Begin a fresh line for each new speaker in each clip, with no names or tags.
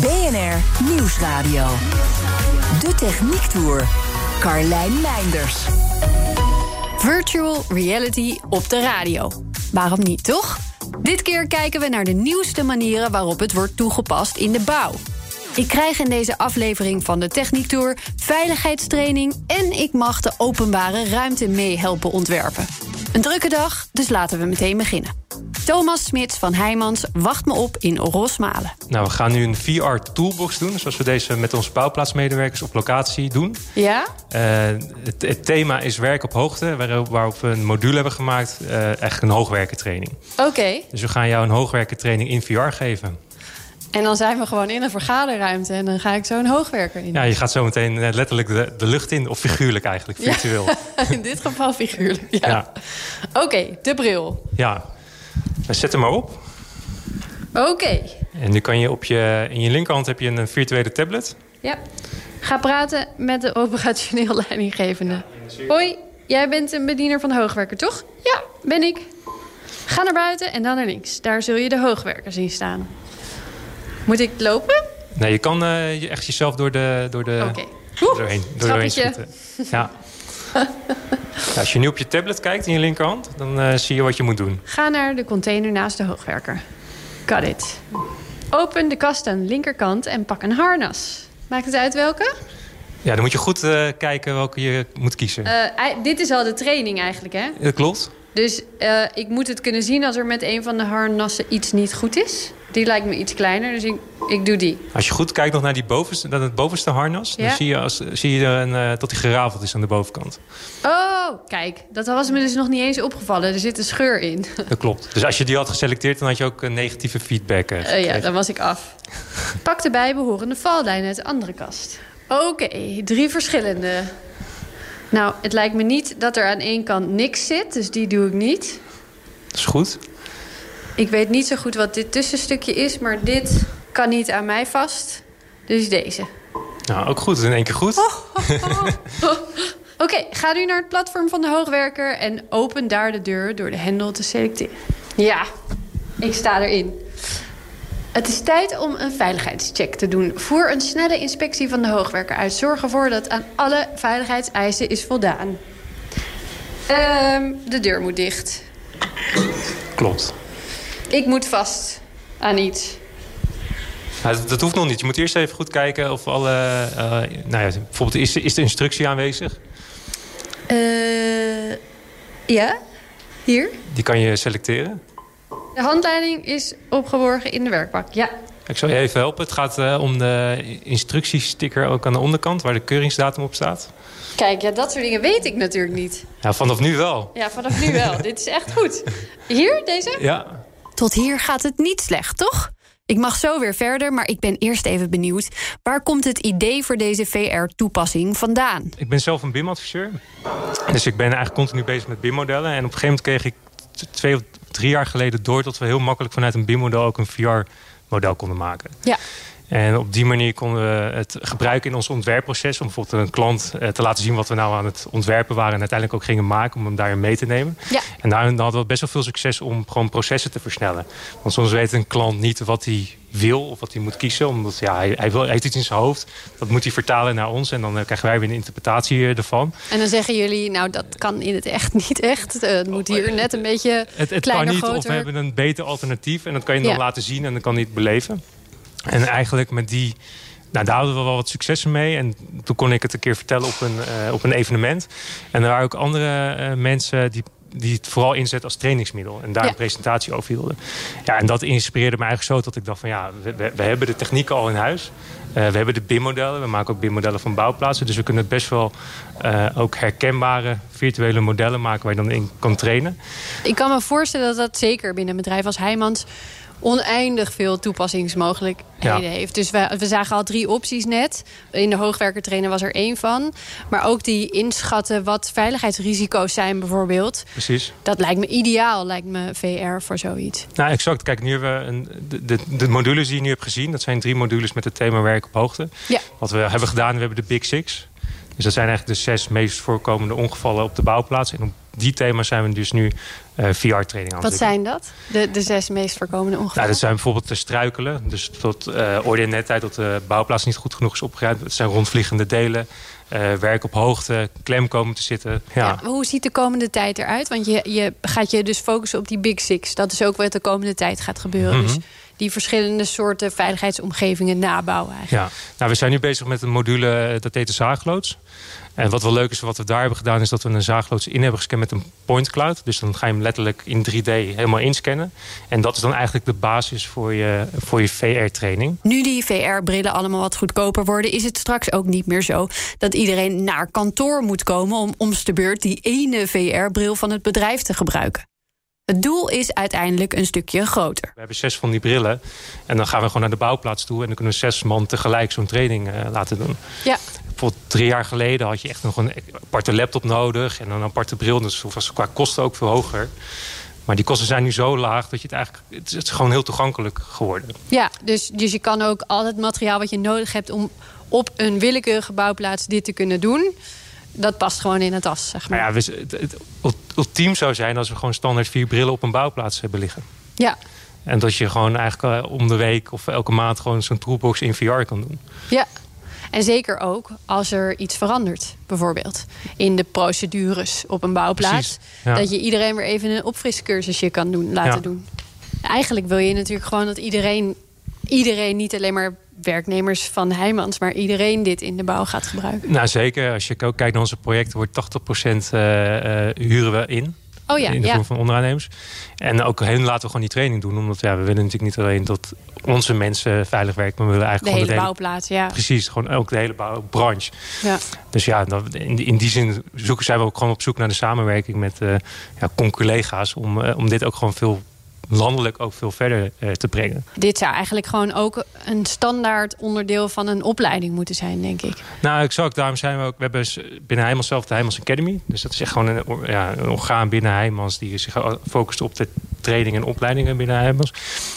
BNR Nieuwsradio. De Techniek Tour. Carlijn Meinders.
Virtual reality op de radio. Waarom niet, toch? Dit keer kijken we naar de nieuwste manieren waarop het wordt toegepast in de bouw. Ik krijg in deze aflevering van de Techniek Tour veiligheidstraining en ik mag de openbare ruimte mee helpen ontwerpen. Een drukke dag, dus laten we meteen beginnen. Thomas Smits van Heijmans wacht me op in Rosmalen.
Nou, we gaan nu een VR-toolbox doen, zoals we deze met onze bouwplaatsmedewerkers op locatie doen.
Ja?
Uh, het, het, thema is werk op hoogte, waar, waarop we een module hebben gemaakt, uh, eigenlijk een hoogwerkentraining.
Oké. Okay.
Dus we gaan jou een hoogwerkentraining in VR geven.
En dan zijn we gewoon in een vergaderruimte en dan ga ik zo een hoogwerker in.
Ja, je gaat zo meteen eh, letterlijk de, de lucht in, of figuurlijk eigenlijk, virtueel.
Ja, in dit geval figuurlijk, ja. ja. Oké, okay, de bril.
Ja, zet hem maar op.
Oké. Okay.
En nu kan je op je, in je linkerhand heb je een virtuele tablet.
Ja. Ga praten met de operationeel leidinggevende. Hoi, jij bent een bediener van de hoogwerker, toch? Ja, ben ik. Ga naar buiten en dan naar links. Daar zul je de hoogwerker zien staan. Moet ik lopen?
Nee, je kan uh, echt jezelf door de... Door de
Oké.
Okay. Doorheen, door doorheen schieten. Ja. ja, als je nu op je tablet kijkt in je linkerhand, dan uh, zie je wat je moet doen.
Ga naar de container naast de hoogwerker. Got it. Open de kast aan de linkerkant en pak een harnas. Maakt het uit welke?
Ja, dan moet je goed uh, kijken welke je moet kiezen.
Uh, dit is al de training eigenlijk, hè?
Dat klopt.
Dus ik moet het kunnen zien als er met een van de harnassen iets niet goed is. Die lijkt me iets kleiner, dus ik, ik doe die.
Als je goed kijkt nog naar, die bovenste, naar het bovenste harnas... Ja. dan zie je, als, zie je een, uh, dat die gerafeld is aan de bovenkant.
Oh, kijk. Dat was me dus nog niet eens opgevallen. Er zit een scheur in.
Dat klopt. Dus als je die had geselecteerd, dan had je ook een negatieve feedback. Uh,
uh, ja, dan was ik af. Pak de bijbehorende vallijn uit de andere kast. Oké, okay, drie verschillende. Nou, het lijkt me niet dat er aan één kant niks zit, dus die doe ik niet.
Dat is goed.
Ik weet niet zo goed wat dit tussenstukje is, maar dit kan niet aan mij vast. Dus deze.
Nou, ook goed. In één keer goed.
Oh, oh, oh. Oké, okay, ga nu naar het platform van de hoogwerker en open daar de deur door de hendel te selecteren. Ja, ik sta erin. Het is tijd om een veiligheidscheck te doen. Voer een snelle inspectie van de hoogwerker uit. Zorg ervoor dat aan alle veiligheidseisen is voldaan. Um, de deur moet dicht.
Klopt.
Ik moet vast aan iets.
Nou, dat, dat, hoeft nog niet. Je moet eerst even goed kijken of alle... Uh, nou ja, bijvoorbeeld, is, is de instructie aanwezig?
Uh, ja, hier.
Die kan je selecteren?
De handleiding is opgeborgen in de werkbak, ja.
Ik zal je even helpen. Het gaat uh, om de instructiesticker ook aan de onderkant... waar de keuringsdatum op staat.
Kijk, ja, dat soort dingen weet ik natuurlijk niet.
Ja, vanaf nu wel.
Ja, vanaf nu wel. Dit is echt goed. Hier, deze?
Ja,
tot hier gaat het niet slecht, toch? Ik mag zo weer verder, maar ik ben eerst even benieuwd. Waar komt het idee voor deze VR-toepassing vandaan?
Ik ben zelf een BIM-adviseur. Dus ik ben eigenlijk continu bezig met BIM-modellen. En op een gegeven moment kreeg ik twee of drie jaar geleden door... dat we heel makkelijk vanuit een BIM-model ook een VR-model konden maken.
Ja.
En op die manier konden we het gebruiken in ons ontwerpproces... om bijvoorbeeld een klant te laten zien wat we nou aan het ontwerpen waren... en uiteindelijk ook gingen maken om hem daarin mee te nemen.
Ja.
En daarin hadden we best wel veel succes om gewoon processen te versnellen. Want soms weet een klant niet wat hij wil of wat hij moet kiezen. Omdat ja, hij, hij, wil, hij heeft iets in zijn hoofd. Dat moet hij vertalen naar ons. En dan uh, krijgen wij weer een interpretatie uh, ervan.
En dan zeggen jullie, nou dat kan in het echt niet echt.
Eh,
Uh, het moet hier net een beetje
het, het
kleiner,
kan niet,
groter.
Of we hebben een beter alternatief. En dat kan je dan ja. laten zien en dan kan hij het beleven. En eigenlijk met die... Nou, daar hadden we wel wat successen mee. En toen kon ik het een keer vertellen op een, uh, op een evenement. En er waren ook andere uh, mensen die, die het vooral inzetten als trainingsmiddel. En daar ja. een presentatie over hielden. Ja, en dat inspireerde me eigenlijk zo dat ik dacht van... ja, we, we, we hebben de technieken al in huis. Uh, we hebben de BIM-modellen. We maken ook BIM-modellen van bouwplaatsen. Dus we kunnen best wel eh, ook herkenbare virtuele modellen maken... waar je dan in kan trainen.
Ik kan me voorstellen dat dat zeker binnen een bedrijf als Heijmans
oneindig veel toepassingsmogelijkheden
Ja.
heeft. Dus we, we zagen al drie opties net. In de hoogwerkertrainer was er één van. Maar ook die inschatten wat veiligheidsrisico's zijn bijvoorbeeld.
Precies.
Dat lijkt me ideaal, lijkt me VR voor zoiets.
Nou, exact. Kijk, nu hebben we een, de, de, de modules die je nu hebt gezien... dat zijn drie modules met het thema werk op hoogte.
Ja.
Wat we hebben gedaan, we hebben de Big Six. Dus dat zijn eigenlijk de zes meest voorkomende ongevallen op de bouwplaats. En op die thema's zijn we dus nu VR-training
Wat
aan het doen.
zijn dat? De, de zes meest voorkomende
Nou,
ongevallen?
dat zijn bijvoorbeeld te struikelen. Dus tot eh ooit in net tijd dat de bouwplaats niet goed genoeg is opgeruimd. Het zijn rondvliegende delen, eh, werk op hoogte, klem komen te zitten. Ja.
Ja, maar hoe ziet de komende tijd eruit? Want je, je gaat je dus focussen op die Big Six. Dat is ook wat de komende tijd gaat gebeuren.
Mhm.
Dus die verschillende soorten veiligheidsomgevingen nabouwen eigenlijk.
Ja, nou, we zijn nu bezig met een module, eh, dat heet de zaagloods. En wat wel leuk is, wat we daar hebben gedaan... is dat we een zaagloods in hebben gescand met een point cloud. Dus dan ga je hem letterlijk in 3D helemaal inscannen. En dat is dan eigenlijk de basis voor je, voor je VR-training.
Nu die VR-brillen allemaal wat goedkoper worden, is het straks ook niet meer zo dat iedereen naar kantoor moet komen om om de beurt die ene VR-bril van het bedrijf te gebruiken. Het doel is uiteindelijk een stukje groter.
We hebben zes van die brillen. En dan gaan we gewoon naar de bouwplaats toe. En dan kunnen we zes man tegelijk zo'n training eh, laten doen.
Ja,
Bijvoorbeeld drie jaar geleden had je echt nog een aparte laptop nodig. En een aparte bril. Dus dat was qua kosten ook veel hoger. Maar die kosten zijn nu zo laag dat je het eigenlijk... Het is, het is gewoon heel toegankelijk geworden.
ja dus, dus je kan ook al het materiaal wat je nodig hebt om op een willekeurige bouwplaats dit te kunnen doen, dat past gewoon in het tas, zeg
Maar
maar.
ja, we z- het, het ult- ultiem zou zijn als we gewoon standaard vier brillen op een bouwplaats hebben liggen.
Ja,
En dat je gewoon eigenlijk eh, om de week of elke maand gewoon zo'n toolbox in VR kan doen.
ja. En zeker ook als er iets verandert, bijvoorbeeld in de procedures op een bouwplaats.
Precies, ja.
Dat je iedereen weer even een opfriscursusje kan doen, laten
Ja.
doen. Eigenlijk wil je natuurlijk gewoon dat iedereen, iedereen, niet alleen maar werknemers van Heijmans, maar iedereen dit in de bouw gaat gebruiken.
Nou zeker, als je ook kijkt naar onze projecten, wordt 80% eh, eh, huren we in.
Oh ja,
in de
ja.
vorm van onderaannemers. En ook hen laten we gewoon die training doen. Omdat ja, we willen natuurlijk niet alleen dat onze mensen veilig werken. Maar we willen
De
eigenlijk
hele
gewoon de hele-
bouwplaats, ja.
Precies, gewoon ook de hele bouwbranche.
ja.
Dus ja, dan- in, in die zin zoeken, zijn we ook gewoon op zoek naar de samenwerking met eh ja, con-collega's. Om, eh, om dit ook gewoon veel landelijk ook veel verder eh, te brengen.
Dit zou eigenlijk gewoon ook een standaard onderdeel van een opleiding moeten zijn, denk ik.
Nou, exact. Daarom zijn we ook. We hebben s- binnen Heijmans zelf de Heijmans Academy. Dus dat is echt gewoon een, or- ja, een orgaan binnen Heijmans. die zich al- focust op de training en opleidingen binnen Heijmans.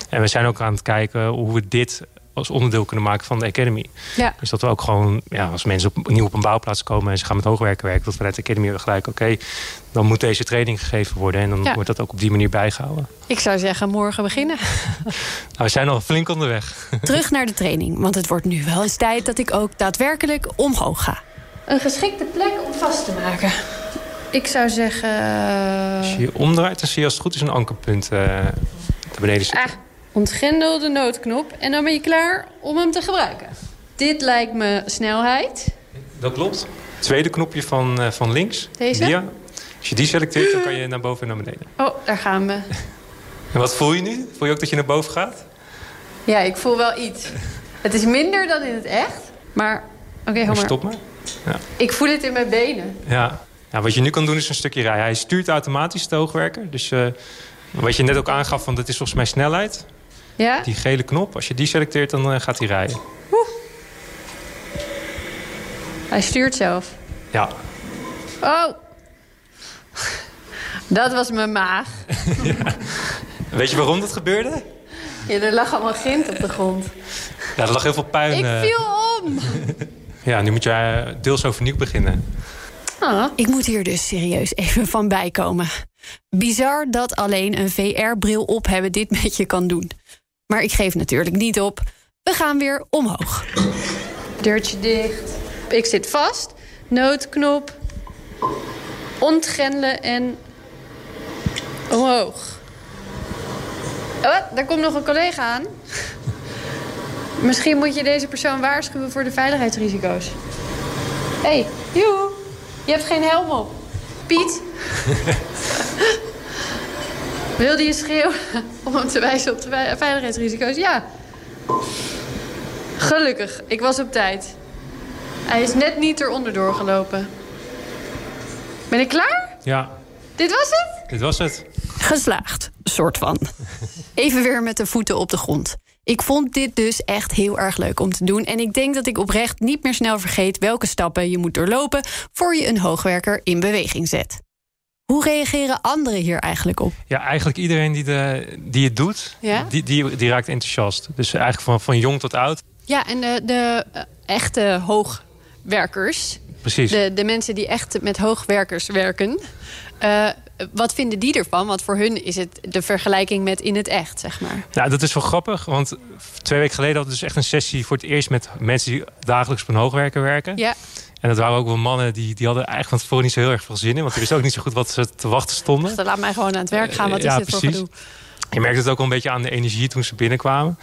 En we zijn ook aan het kijken hoe we dit als onderdeel kunnen maken van de Academy.
Ja.
Dus dat we ook gewoon, ja, als mensen op, nieuw op een bouwplaats komen en ze gaan met hoogwerken werken, dat vanuit de Academy we gelijk, oké, dan moet deze training gegeven worden. En dan
Ja.
wordt dat ook op die manier bijgehouden.
Ik zou zeggen, morgen beginnen.
Nou, we zijn al flink onderweg.
Terug naar de training, want het wordt nu wel eens tijd dat ik ook daadwerkelijk omhoog ga. Een geschikte plek om vast te maken. Ik zou zeggen. eh,
Als je je omdraait, dan zie je als het goed is een ankerpunt eh naar beneden zitten.
Ah, ontgrendel de noodknop en dan ben je klaar om hem te gebruiken. Dit lijkt me snelheid.
Dat klopt. Tweede knopje van, eh, van links.
Deze?
Ja. Als je die selecteert, dan kan je naar boven en naar beneden.
Oh, daar gaan we.
En wat voel je nu? Voel je ook dat je naar boven gaat?
Ja, ik voel wel iets. Het is minder dan in het echt, maar. Oké,
Maar
Homer.
stop maar.
Ik voel het in mijn benen.
Ja. ja. Wat je nu kan doen is een stukje rijden. Hij stuurt automatisch de hoogwerker. Dus eh, wat je net ook aangaf, van dat is volgens mij snelheid.
Ja?
Die gele knop, als je die selecteert, dan eh, gaat hij rijden.
Hij stuurt zelf.
Ja.
Oh! Dat was mijn maag.
Weet je waarom dat gebeurde?
Ja, er lag allemaal grind op de grond.
Ja, er lag heel veel puin.
Ik
eh.
viel om.
Ja, nu moet je eh, deels overnieuw beginnen.
Ik moet hier dus serieus even van bijkomen. Bizar dat alleen een VR-bril op hebben dit met je kan doen. Maar ik geef natuurlijk niet op. We gaan weer omhoog. Deurtje dicht. Ik zit vast. Noodknop. Ontgrendelen en omhoog. Oh, daar komt nog een collega aan. Misschien moet je deze persoon waarschuwen voor de veiligheidsrisico's. Hé, hey, joe. Je hebt geen helm op. Piet. Wilde je schreeuwen om hem te wijzen op de vei- veiligheidsrisico's? Ja. Gelukkig, ik was op tijd. Hij is net niet eronder doorgelopen. Ben ik klaar?
Ja,
Dit was het?
dit was het.
Geslaagd, soort van. even weer met de voeten op de grond. Ik vond dit dus echt heel erg leuk om te doen. En ik denk dat ik oprecht niet meer snel vergeet welke stappen je moet doorlopen voor je een hoogwerker in beweging zet. Hoe reageren anderen hier eigenlijk op?
Ja, eigenlijk iedereen die, de, die het doet,
Ja?
die, die, die raakt enthousiast. Dus eigenlijk van, van jong tot oud.
Ja, en de, de eh, echte hoogwerkers,
Precies.
de, de mensen die echt met hoogwerkers werken, eh, wat vinden die ervan? Want voor hun is het de vergelijking met in het echt, zeg maar.
Nou, dat is wel grappig, want twee weken geleden hadden we dus echt een sessie voor het eerst met mensen die dagelijks op een hoogwerker werken.
Ja,
En dat waren ook wel mannen die, die hadden eigenlijk van tevoren niet zo heel erg veel zin in, want die wisten ook niet zo goed wat ze te wachten stonden.
dan laat mij gewoon aan het werk gaan. Wat is
Ja,
dit voor
precies.
gedoe?
Je merkte het ook wel een beetje aan de energie toen ze binnenkwamen.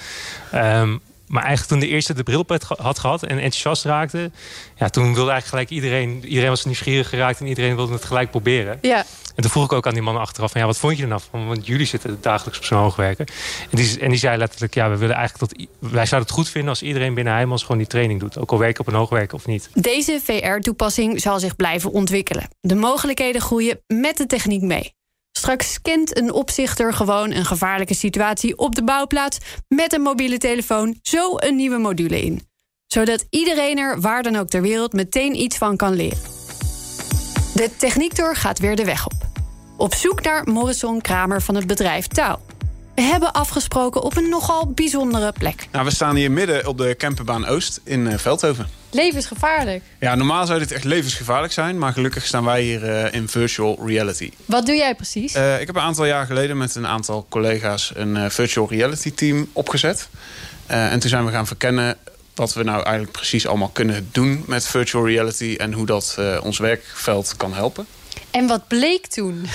Ehm, maar eigenlijk toen de eerste de bril op had ge- had gehad en enthousiast raakte... Ja, toen wilde eigenlijk gelijk iedereen... Iedereen was nieuwsgierig geraakt en iedereen wilde het gelijk proberen.
Ja,
En toen vroeg ik ook aan die mannen achteraf van... Ja, wat vond je er nou van? Want jullie zitten dagelijks op zo'n hoogwerken. En die, en die zei letterlijk... Ja, we willen eigenlijk dat... i- Wij zouden het goed vinden als iedereen binnen Heijmans gewoon die training doet. Ook al werk je op een hoogwerken of niet.
Deze VR-toepassing zal zich blijven ontwikkelen. De mogelijkheden groeien met de techniek mee. Straks scant een opzichter gewoon een gevaarlijke situatie op de bouwplaats met een mobiele telefoon zo een nieuwe module in. Zodat iedereen er waar dan ook ter wereld meteen iets van kan leren. De techniektour gaat weer de weg op. Op zoek naar Morrison Kramer van het bedrijf Touw. We hebben afgesproken op een nogal bijzondere plek.
Nou, we staan hier midden op de camperbaan Oost in eh, Veldhoven.
Levensgevaarlijk.
Ja, normaal zou dit echt levensgevaarlijk zijn, maar gelukkig staan wij hier eh, in virtual reality.
Wat doe jij precies?
Eh, ik heb een aantal jaar geleden met een aantal collega's een eh, virtual reality team opgezet. Eh, en toen zijn we gaan verkennen wat we nou eigenlijk precies allemaal kunnen doen met virtual reality en hoe dat eh, ons werkveld kan helpen.
En wat bleek toen?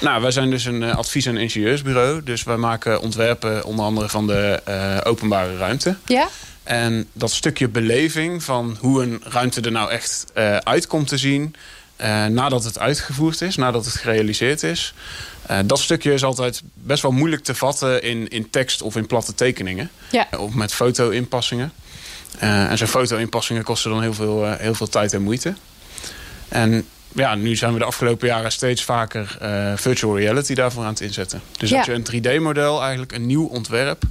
Nou, wij zijn dus een eh, advies- en ingenieursbureau. Dus wij maken ontwerpen onder andere van de eh, openbare ruimte.
Ja?
En dat stukje beleving van hoe een ruimte er nou echt eh, uit komt te zien. eh, nadat het uitgevoerd is, nadat het gerealiseerd is. eh, dat stukje is altijd best wel moeilijk te vatten in, in tekst of in platte tekeningen.
Ja.
Of met foto-inpassingen. Eh, en zo'n foto-inpassingen kosten dan heel veel, eh, heel veel tijd en moeite. En ja, nu zijn we de afgelopen jaren steeds vaker eh, virtual reality daarvoor aan het inzetten. Dus
Ja.
dat je een 3D-model, eigenlijk een nieuw ontwerp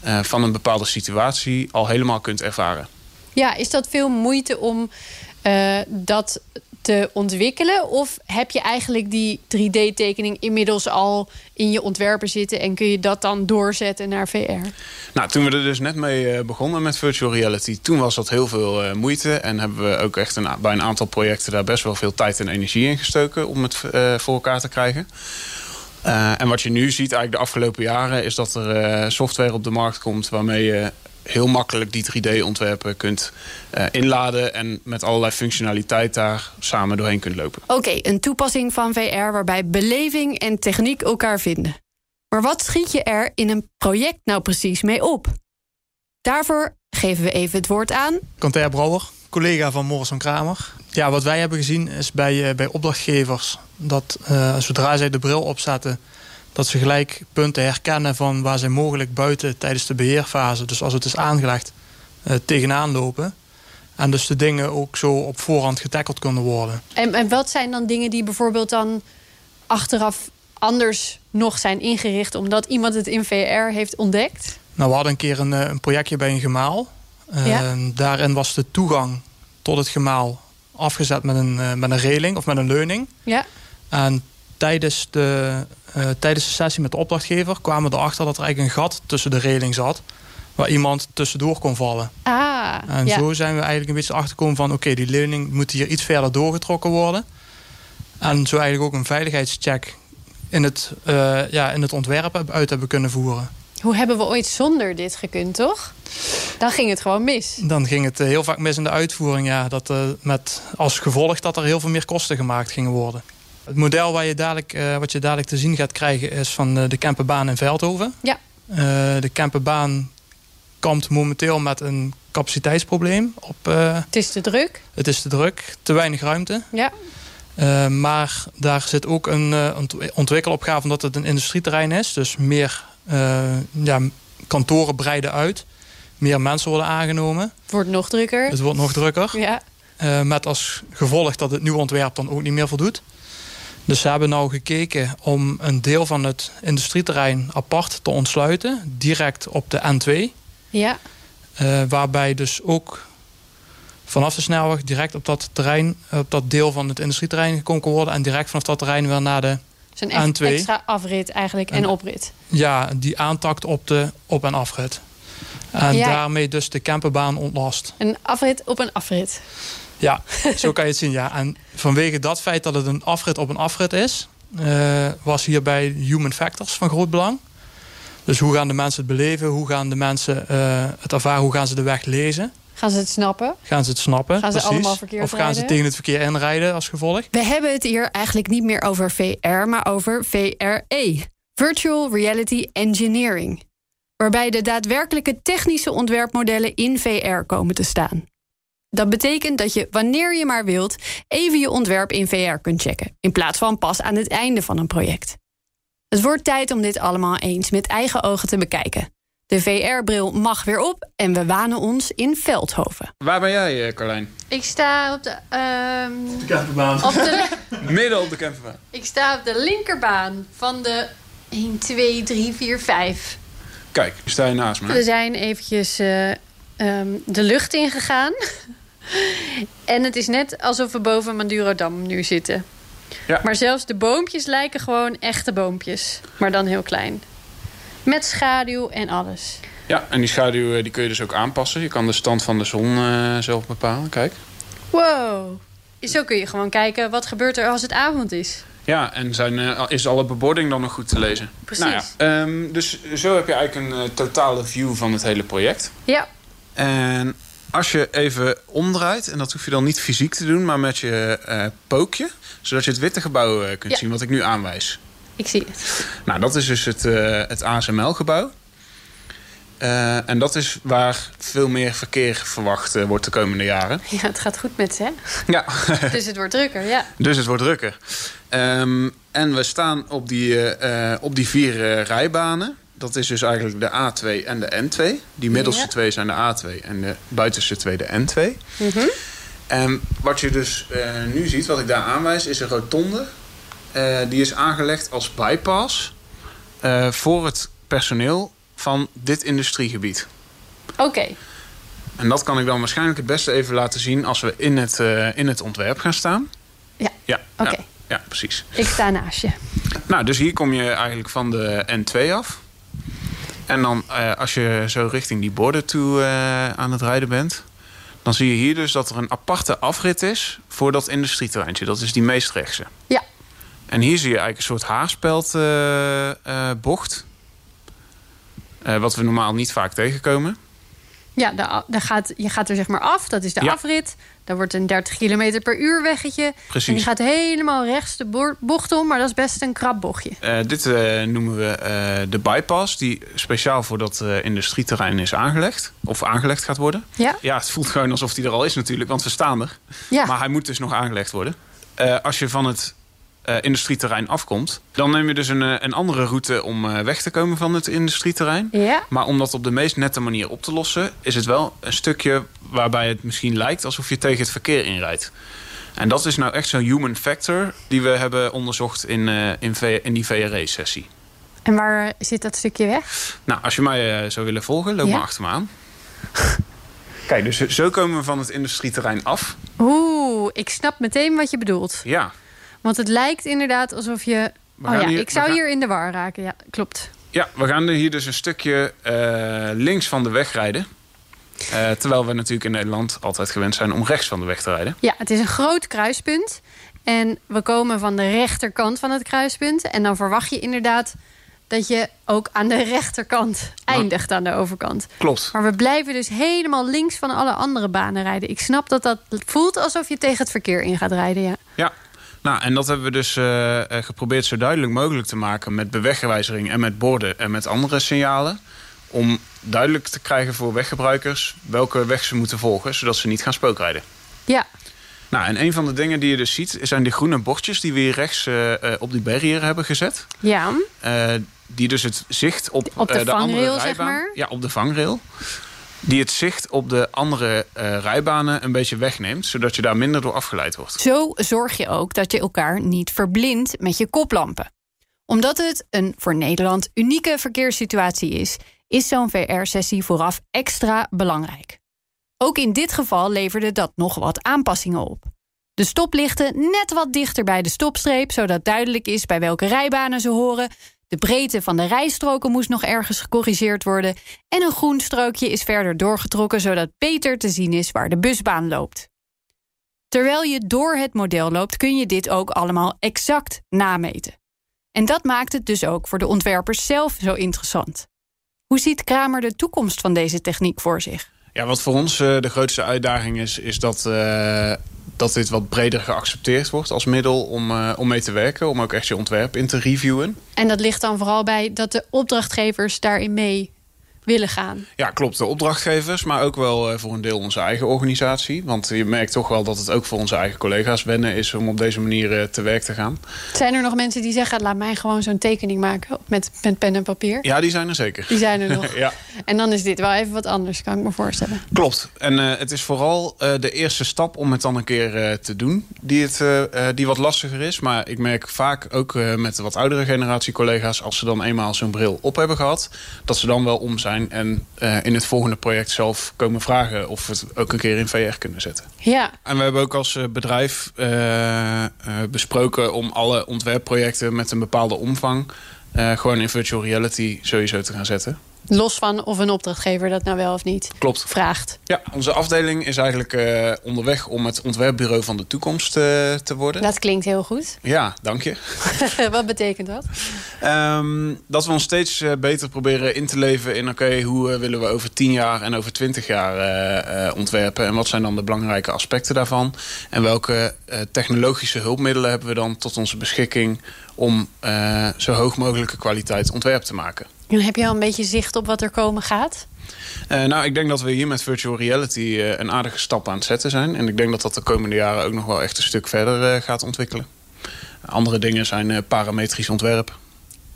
eh, van een bepaalde situatie al helemaal kunt ervaren.
Ja, is dat veel moeite om eh, dat te ontwikkelen? Of heb je eigenlijk die 3D-tekening inmiddels al in je ontwerpen zitten en kun je dat dan doorzetten naar VR?
Nou, toen we er dus net mee eh, begonnen met virtual reality, toen was dat heel veel eh, moeite. En hebben we ook echt een, a- bij een aantal projecten daar best wel veel tijd en energie in gestoken om het eh, voor elkaar te krijgen. Eh, en wat je nu ziet eigenlijk de afgelopen jaren is dat er eh, software op de markt komt waarmee je heel makkelijk die 3D-ontwerpen kunt eh, inladen en met allerlei functionaliteit daar samen doorheen kunt lopen.
Oké, een toepassing van VR waarbij beleving en techniek elkaar vinden. Maar wat schiet je er in een project nou precies mee op? Daarvoor geven we even het woord aan.
Kantair Brouwer, collega van Morrison Kramer. Ja, wat wij hebben gezien is bij, eh, bij opdrachtgevers dat eh, zodra zij de bril opzetten, dat ze gelijk punten herkennen van waar zij mogelijk buiten tijdens de beheerfase, dus als het is aangelegd, eh, tegenaan lopen. En dus de dingen ook zo op voorhand getackeld kunnen worden.
En, en wat zijn dan dingen die bijvoorbeeld dan achteraf anders nog zijn ingericht omdat iemand het in VR heeft ontdekt?
Nou, we hadden een keer een, eh, een projectje bij een gemaal. Eh,
Ja.
Daarin was de toegang tot het gemaal afgezet met een, eh, met een reling of met een leuning.
Ja.
En tijdens de, eh, tijdens de sessie met de opdrachtgever kwamen we erachter dat er eigenlijk een gat tussen de reling zat. Waar iemand tussendoor kon vallen.
Ah,
En
ja.
zo zijn we eigenlijk een beetje achterkomen van: oké, die leuning moet hier iets verder doorgetrokken worden. En zo eigenlijk ook een veiligheidscheck in het, eh, ja, in het ontwerp heb- uit hebben kunnen voeren.
Hoe hebben we ooit zonder dit gekund, toch? Dan ging het gewoon mis.
Dan ging het eh, heel vaak mis in de uitvoering. Ja, dat, eh, met als gevolg dat er heel veel meer kosten gemaakt gingen worden. Het model waar je dadelijk, eh, wat je dadelijk te zien gaat krijgen is van eh, de Kempenbaan in Veldhoven.
Ja.
Eh, de Kempenbaan kampt momenteel met een capaciteitsprobleem. Op, eh,
Het is te druk.
het is te druk, te weinig ruimte.
Ja.
Eh, maar daar zit ook een eh, ont- ontwikkelopgave omdat het een industrieterrein is. Dus meer eh, ja, kantoren breiden uit. Meer mensen worden aangenomen.
Het wordt nog drukker.
Het wordt nog drukker.
Ja.
Eh, met als gevolg dat het nieuwe ontwerp dan ook niet meer voldoet. Dus ze hebben nou gekeken om een deel van het industrieterrein apart te ontsluiten, direct op de N2.
Ja.
eh, waarbij dus ook vanaf de snelweg direct op dat terrein, op dat deel van het industrieterrein gekomen kan worden. En direct vanaf dat terrein weer naar de,
Dus een
Aan
echt
twee.
extra afrit eigenlijk en
En-
oprit.
ja, die aantakt op de op- en afrit. En
Ja.
daarmee dus de camperbaan ontlast.
Een afrit op een afrit.
Ja, zo kan je het zien. Ja. En vanwege dat feit dat het een afrit op een afrit is, eh, was hierbij human factors van groot belang. Dus hoe gaan de mensen het beleven? Hoe gaan de mensen eh, het ervaren? Hoe gaan ze de weg lezen?
Gaan ze het snappen?
Gaan ze het snappen?
Gaan ze
precies?
allemaal verkeerd
Of gaan ze
rijden?
tegen het verkeer inrijden als gevolg?
We hebben het hier eigenlijk niet meer over VR, maar over VRE. Virtual Reality Engineering. Waarbij de daadwerkelijke technische ontwerpmodellen in VR komen te staan. Dat betekent dat je, wanneer je maar wilt, even je ontwerp in VR kunt checken. In plaats van pas aan het einde van een project. Het wordt tijd om dit allemaal eens met eigen ogen te bekijken. De VR-bril mag weer op en we wanen ons in Veldhoven.
Waar ben jij, eh, Carlijn?
Ik sta op de, ehm, op de li-
Midden op de camperbaan.
ik sta op de linkerbaan van de 1, 2, 3, 4, 5.
Kijk, nu sta je naast me.
We zijn eventjes eh, ehm, de lucht ingegaan. en het is net alsof we boven Madurodam nu zitten.
Ja.
Maar zelfs de boompjes lijken gewoon echte boompjes. Maar dan heel klein. Met schaduw en alles.
Ja, en die schaduw eh, die kun je dus ook aanpassen. Je kan de stand van de zon eh, zelf bepalen. Kijk.
Wow. Zo kun je gewoon kijken wat gebeurt er als het avond is.
Ja, en zijn, eh, is alle bebording dan nog goed te lezen?
Precies.
Nou ja, ehm, dus zo heb je eigenlijk een eh, totale view van het hele project.
Ja,
En als je even omdraait, en dat hoef je dan niet fysiek te doen, maar met je eh, pookje, zodat je het witte gebouw eh, kunt
Ja.
zien, wat ik nu aanwijs.
ik zie het.
Nou, dat is dus het, eh, het ASML-gebouw. Eh, en dat is waar veel meer verkeer verwacht eh, wordt de komende jaren.
Ja, het gaat goed met ze, hè?
Ja,
Dus het wordt drukker, ja.
Dus het wordt drukker. Ehm, en we staan op die, eh, eh, op die vier eh, rijbanen. Dat is dus eigenlijk de A2 en de N2. Die middelste
Ja.
twee zijn de A2 en de buitenste twee de N2.
Mhm.
En wat je dus eh, nu ziet, wat ik daar aanwijs, is een rotonde. Eh, die is aangelegd als bypass eh, voor het personeel van dit industriegebied.
Oké,
En dat kan ik dan waarschijnlijk het beste even laten zien als we in het, eh, in het ontwerp gaan staan.
Ja.
Ja,
Oké.
ja, ja precies.
ik sta naast je.
Nou, dus hier kom je eigenlijk van de N2 af. En dan eh, als je zo richting die borden toe eh, aan het rijden bent... dan zie je hier dus dat er een aparte afrit is voor dat industrieterreintje. Dat is die meest rechtse.
Ja.
En hier zie je eigenlijk een soort haarspeld eh, eh, bocht. Eh, wat we normaal niet vaak tegenkomen.
Ja, daar, daar gaat, je gaat er zeg maar af. Dat is de
Ja.
afrit. Daar wordt een 30 km per uur weggetje.
Precies.
En die gaat helemaal rechts de boor- bocht om. Maar dat is best een krap bochtje.
Eh, dit eh, noemen we eh, de bypass, die speciaal voor dat eh, industrieterrein is aangelegd. Of aangelegd gaat worden.
Ja?
Ja, het voelt gewoon alsof die er al is natuurlijk, want we staan er.
Ja.
Maar hij moet dus nog aangelegd worden. Eh, als je van het eh, industrieterrein afkomt, dan neem je dus een, eh, een andere route om eh, weg te komen van het industrieterrein.
Ja?
Maar om dat op de meest nette manier op te lossen, is het wel een stukje waarbij het misschien lijkt alsof je tegen het verkeer inrijdt. En dat is nou echt zo'n human factor die we hebben onderzocht in, eh, in, V- in die VRE-sessie.
En waar eh, zit dat stukje weg?
Nou, als je mij eh, zou willen volgen, loop
Ja.
maar achter me aan. Kijk, dus zo komen we van het industrieterrein af.
Oeh, ik snap meteen wat je bedoelt.
Ja,
Want het lijkt inderdaad alsof je...
We
Oh
gaan
ja,
hier-
ik
we
zou
gaan-
hier in de war raken. Ja, klopt.
ja we gaan er hier dus een stukje eh, links van de weg rijden. Eh, terwijl we natuurlijk in Nederland altijd gewend zijn om rechts van de weg te rijden.
Ja, het is een groot kruispunt. En we komen van de rechterkant van het kruispunt. En dan verwacht je inderdaad dat je ook aan de rechterkant eindigt aan de overkant.
Klopt.
Maar we blijven dus helemaal links van alle andere banen rijden. Ik snap dat dat voelt alsof je tegen het verkeer in gaat rijden. Ja.
Ja, nou, en dat hebben we dus eh, eh, geprobeerd zo duidelijk mogelijk te maken met bewegwijzering en met borden en met andere signalen. Om duidelijk te krijgen voor weggebruikers welke weg ze moeten volgen, zodat ze niet gaan spookrijden.
ja.
Nou, en een van de dingen die je dus ziet, zijn die groene bordjes die we hier rechts eh, eh, op die barrière hebben gezet.
Ja,
Eh, die dus het zicht op,
Op de
eh, andere
vangrail, zeg
rijbaan-
maar?
Ja, op de vangrail. die het zicht op de andere eh, rijbanen een beetje wegneemt, zodat je daar minder door afgeleid wordt.
Zo zorg je ook dat je elkaar niet verblindt met je koplampen. Omdat het een voor Nederland unieke verkeerssituatie is, is zo'n VR-sessie vooraf extra belangrijk. Ook in dit geval leverde dat nog wat aanpassingen op. De stoplichten net wat dichter bij de stopstreep, zodat duidelijk is bij welke rijbanen ze horen. De breedte van de rijstroken moest nog ergens gecorrigeerd worden. En een groen strookje is verder doorgetrokken, zodat beter te zien is waar de busbaan loopt. Terwijl je door het model loopt, kun je dit ook allemaal exact nameten. En dat maakt het dus ook voor de ontwerpers zelf zo interessant. Hoe ziet Kramer de toekomst van deze techniek voor zich?
Ja, wat voor ons eh, de grootste uitdaging is, is dat, eh, dat dit wat breder geaccepteerd wordt als middel om, eh, om mee te werken, om ook echt je ontwerp in te reviewen.
En dat ligt dan vooral bij dat de opdrachtgevers daarin mee willen gaan.
Ja, klopt. De opdrachtgevers, maar ook wel eh, voor een deel onze eigen organisatie. Want je merkt toch wel dat het ook voor onze eigen collega's wennen is om op deze manier eh, te werk te gaan.
Zijn er nog mensen die zeggen, laat mij gewoon zo'n tekening maken met, met pen en papier?
Ja, die zijn er zeker.
Die zijn er nog.
Ja.
En dan is dit wel even wat anders, kan ik me voorstellen.
Klopt. En eh, het is vooral eh, de eerste stap om het dan een keer eh, te doen. Die, het, eh, eh, die wat lastiger is. Maar ik merk vaak ook eh, met de wat oudere generatie collega's... als ze dan eenmaal zo'n bril op hebben gehad... dat ze dan wel om zijn en eh, in het volgende project zelf komen vragen... of we het ook een keer in VR kunnen zetten.
Ja,
En we hebben ook als eh, bedrijf eh, eh, besproken... om alle ontwerpprojecten met een bepaalde omvang... eh, gewoon in virtual reality sowieso te gaan zetten.
los van of een opdrachtgever dat nou wel of niet
Klopt.
vraagt.
Ja, onze afdeling is eigenlijk eh, onderweg om het ontwerpbureau van de toekomst eh, te worden.
Dat klinkt heel goed.
Ja, dank je.
wat betekent dat?
Ehm, dat we ons steeds eh, beter proberen in te leven in... oké, hoe eh, willen we over 10 jaar en over 20 jaar eh, eh, ontwerpen... en wat zijn dan de belangrijke aspecten daarvan... en welke eh, technologische hulpmiddelen hebben we dan tot onze beschikking... om eh, zo hoog mogelijke kwaliteit ontwerp te maken.
Dan heb je al een beetje zicht op wat er komen gaat.
Eh, nou, ik denk dat we hier met virtual reality eh, een aardige stap aan het zetten zijn. En ik denk dat dat de komende jaren ook nog wel echt een stuk verder eh, gaat ontwikkelen. Andere dingen zijn eh, parametrisch ontwerp.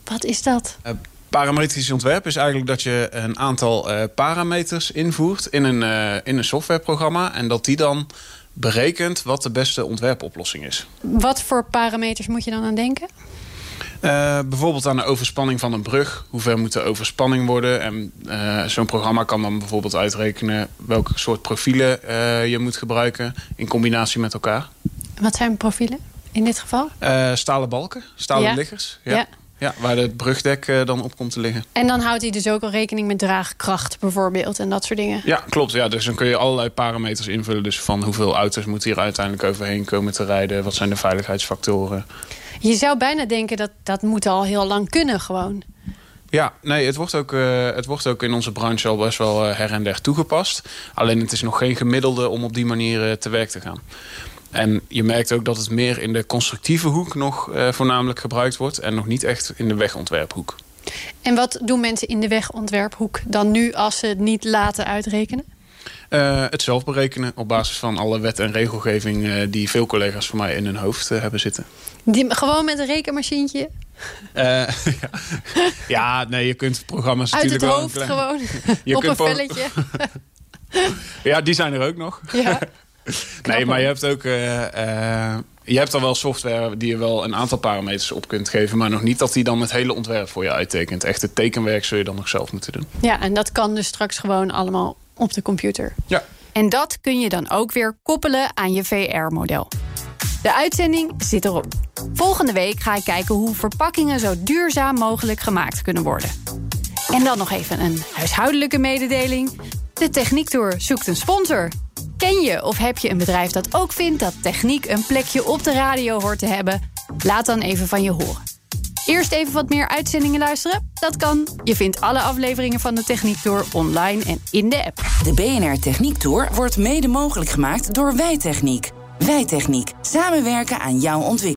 Wat is dat?
Eh, parametrisch ontwerp is eigenlijk dat je een aantal eh, parameters invoert in een, eh, in een softwareprogramma. En dat die dan berekent wat de beste ontwerpoplossing is.
Wat voor parameters moet je dan aan denken?
Eh, bijvoorbeeld aan de overspanning van een brug. Hoe ver moet de overspanning worden? En eh, zo'n programma kan dan bijvoorbeeld uitrekenen welk soort profielen eh, je moet gebruiken in combinatie met elkaar.
Wat zijn profielen in dit geval?
Eh, stalen balken, stalen
Ja.
liggers.
Ja.
Ja. Ja, waar het brugdek eh, dan op komt te liggen.
En dan houdt hij dus ook al rekening met draagkracht bijvoorbeeld en dat soort dingen.
Ja, klopt. Ja, dus dan kun je allerlei parameters invullen. Dus van hoeveel auto's moeten hier uiteindelijk overheen komen te rijden? Wat zijn de veiligheidsfactoren?
Je zou bijna denken dat dat moet al heel lang kunnen gewoon.
Ja, nee, het wordt, ook, eh, het wordt ook in onze branche al best wel eh, her en der toegepast. Alleen het is nog geen gemiddelde om op die manier eh, te werk te gaan. En je merkt ook dat het meer in de constructieve hoek nog eh, voornamelijk gebruikt wordt. En nog niet echt in de wegontwerphoek.
En wat doen mensen in de wegontwerphoek dan nu als ze het niet laten uitrekenen?
Eh, het zelf berekenen op basis van alle wet en regelgeving eh, die veel collega's van mij in hun hoofd eh, hebben zitten.
Die, gewoon met een rekenmachientje
Eh, ja. ja, nee, je kunt programma's
uit het
natuurlijk wel een
hoofd
klein-
gewoon
Je
op een
kunt wel-
velletje.
Ja, die zijn er ook nog.
Ja.
Nee,
hoor.
maar je hebt ook. eh, eh, je hebt al wel software die je wel een aantal parameters op kunt geven. Maar nog niet dat die dan het hele ontwerp voor je uittekent. Echt het tekenwerk zul je dan nog zelf moeten doen.
ja, en dat kan dus straks gewoon allemaal op de computer.
Ja.
En dat kun je dan ook weer koppelen aan je VR-model. De uitzending zit erop. Volgende week ga ik kijken hoe verpakkingen zo duurzaam mogelijk gemaakt kunnen worden. En dan nog even een huishoudelijke mededeling. De Techniektour zoekt een sponsor. Ken je of heb je een bedrijf dat ook vindt dat techniek een plekje op de radio hoort te hebben? Laat dan even van je horen. Eerst even wat meer uitzendingen luisteren? Dat kan. Je vindt alle afleveringen van de Techniektour online en in de app.
De BNR Techniek Tour wordt mede mogelijk gemaakt door Wijtechniek. Wijtechniek. Samenwerken aan jouw ontwikkeling.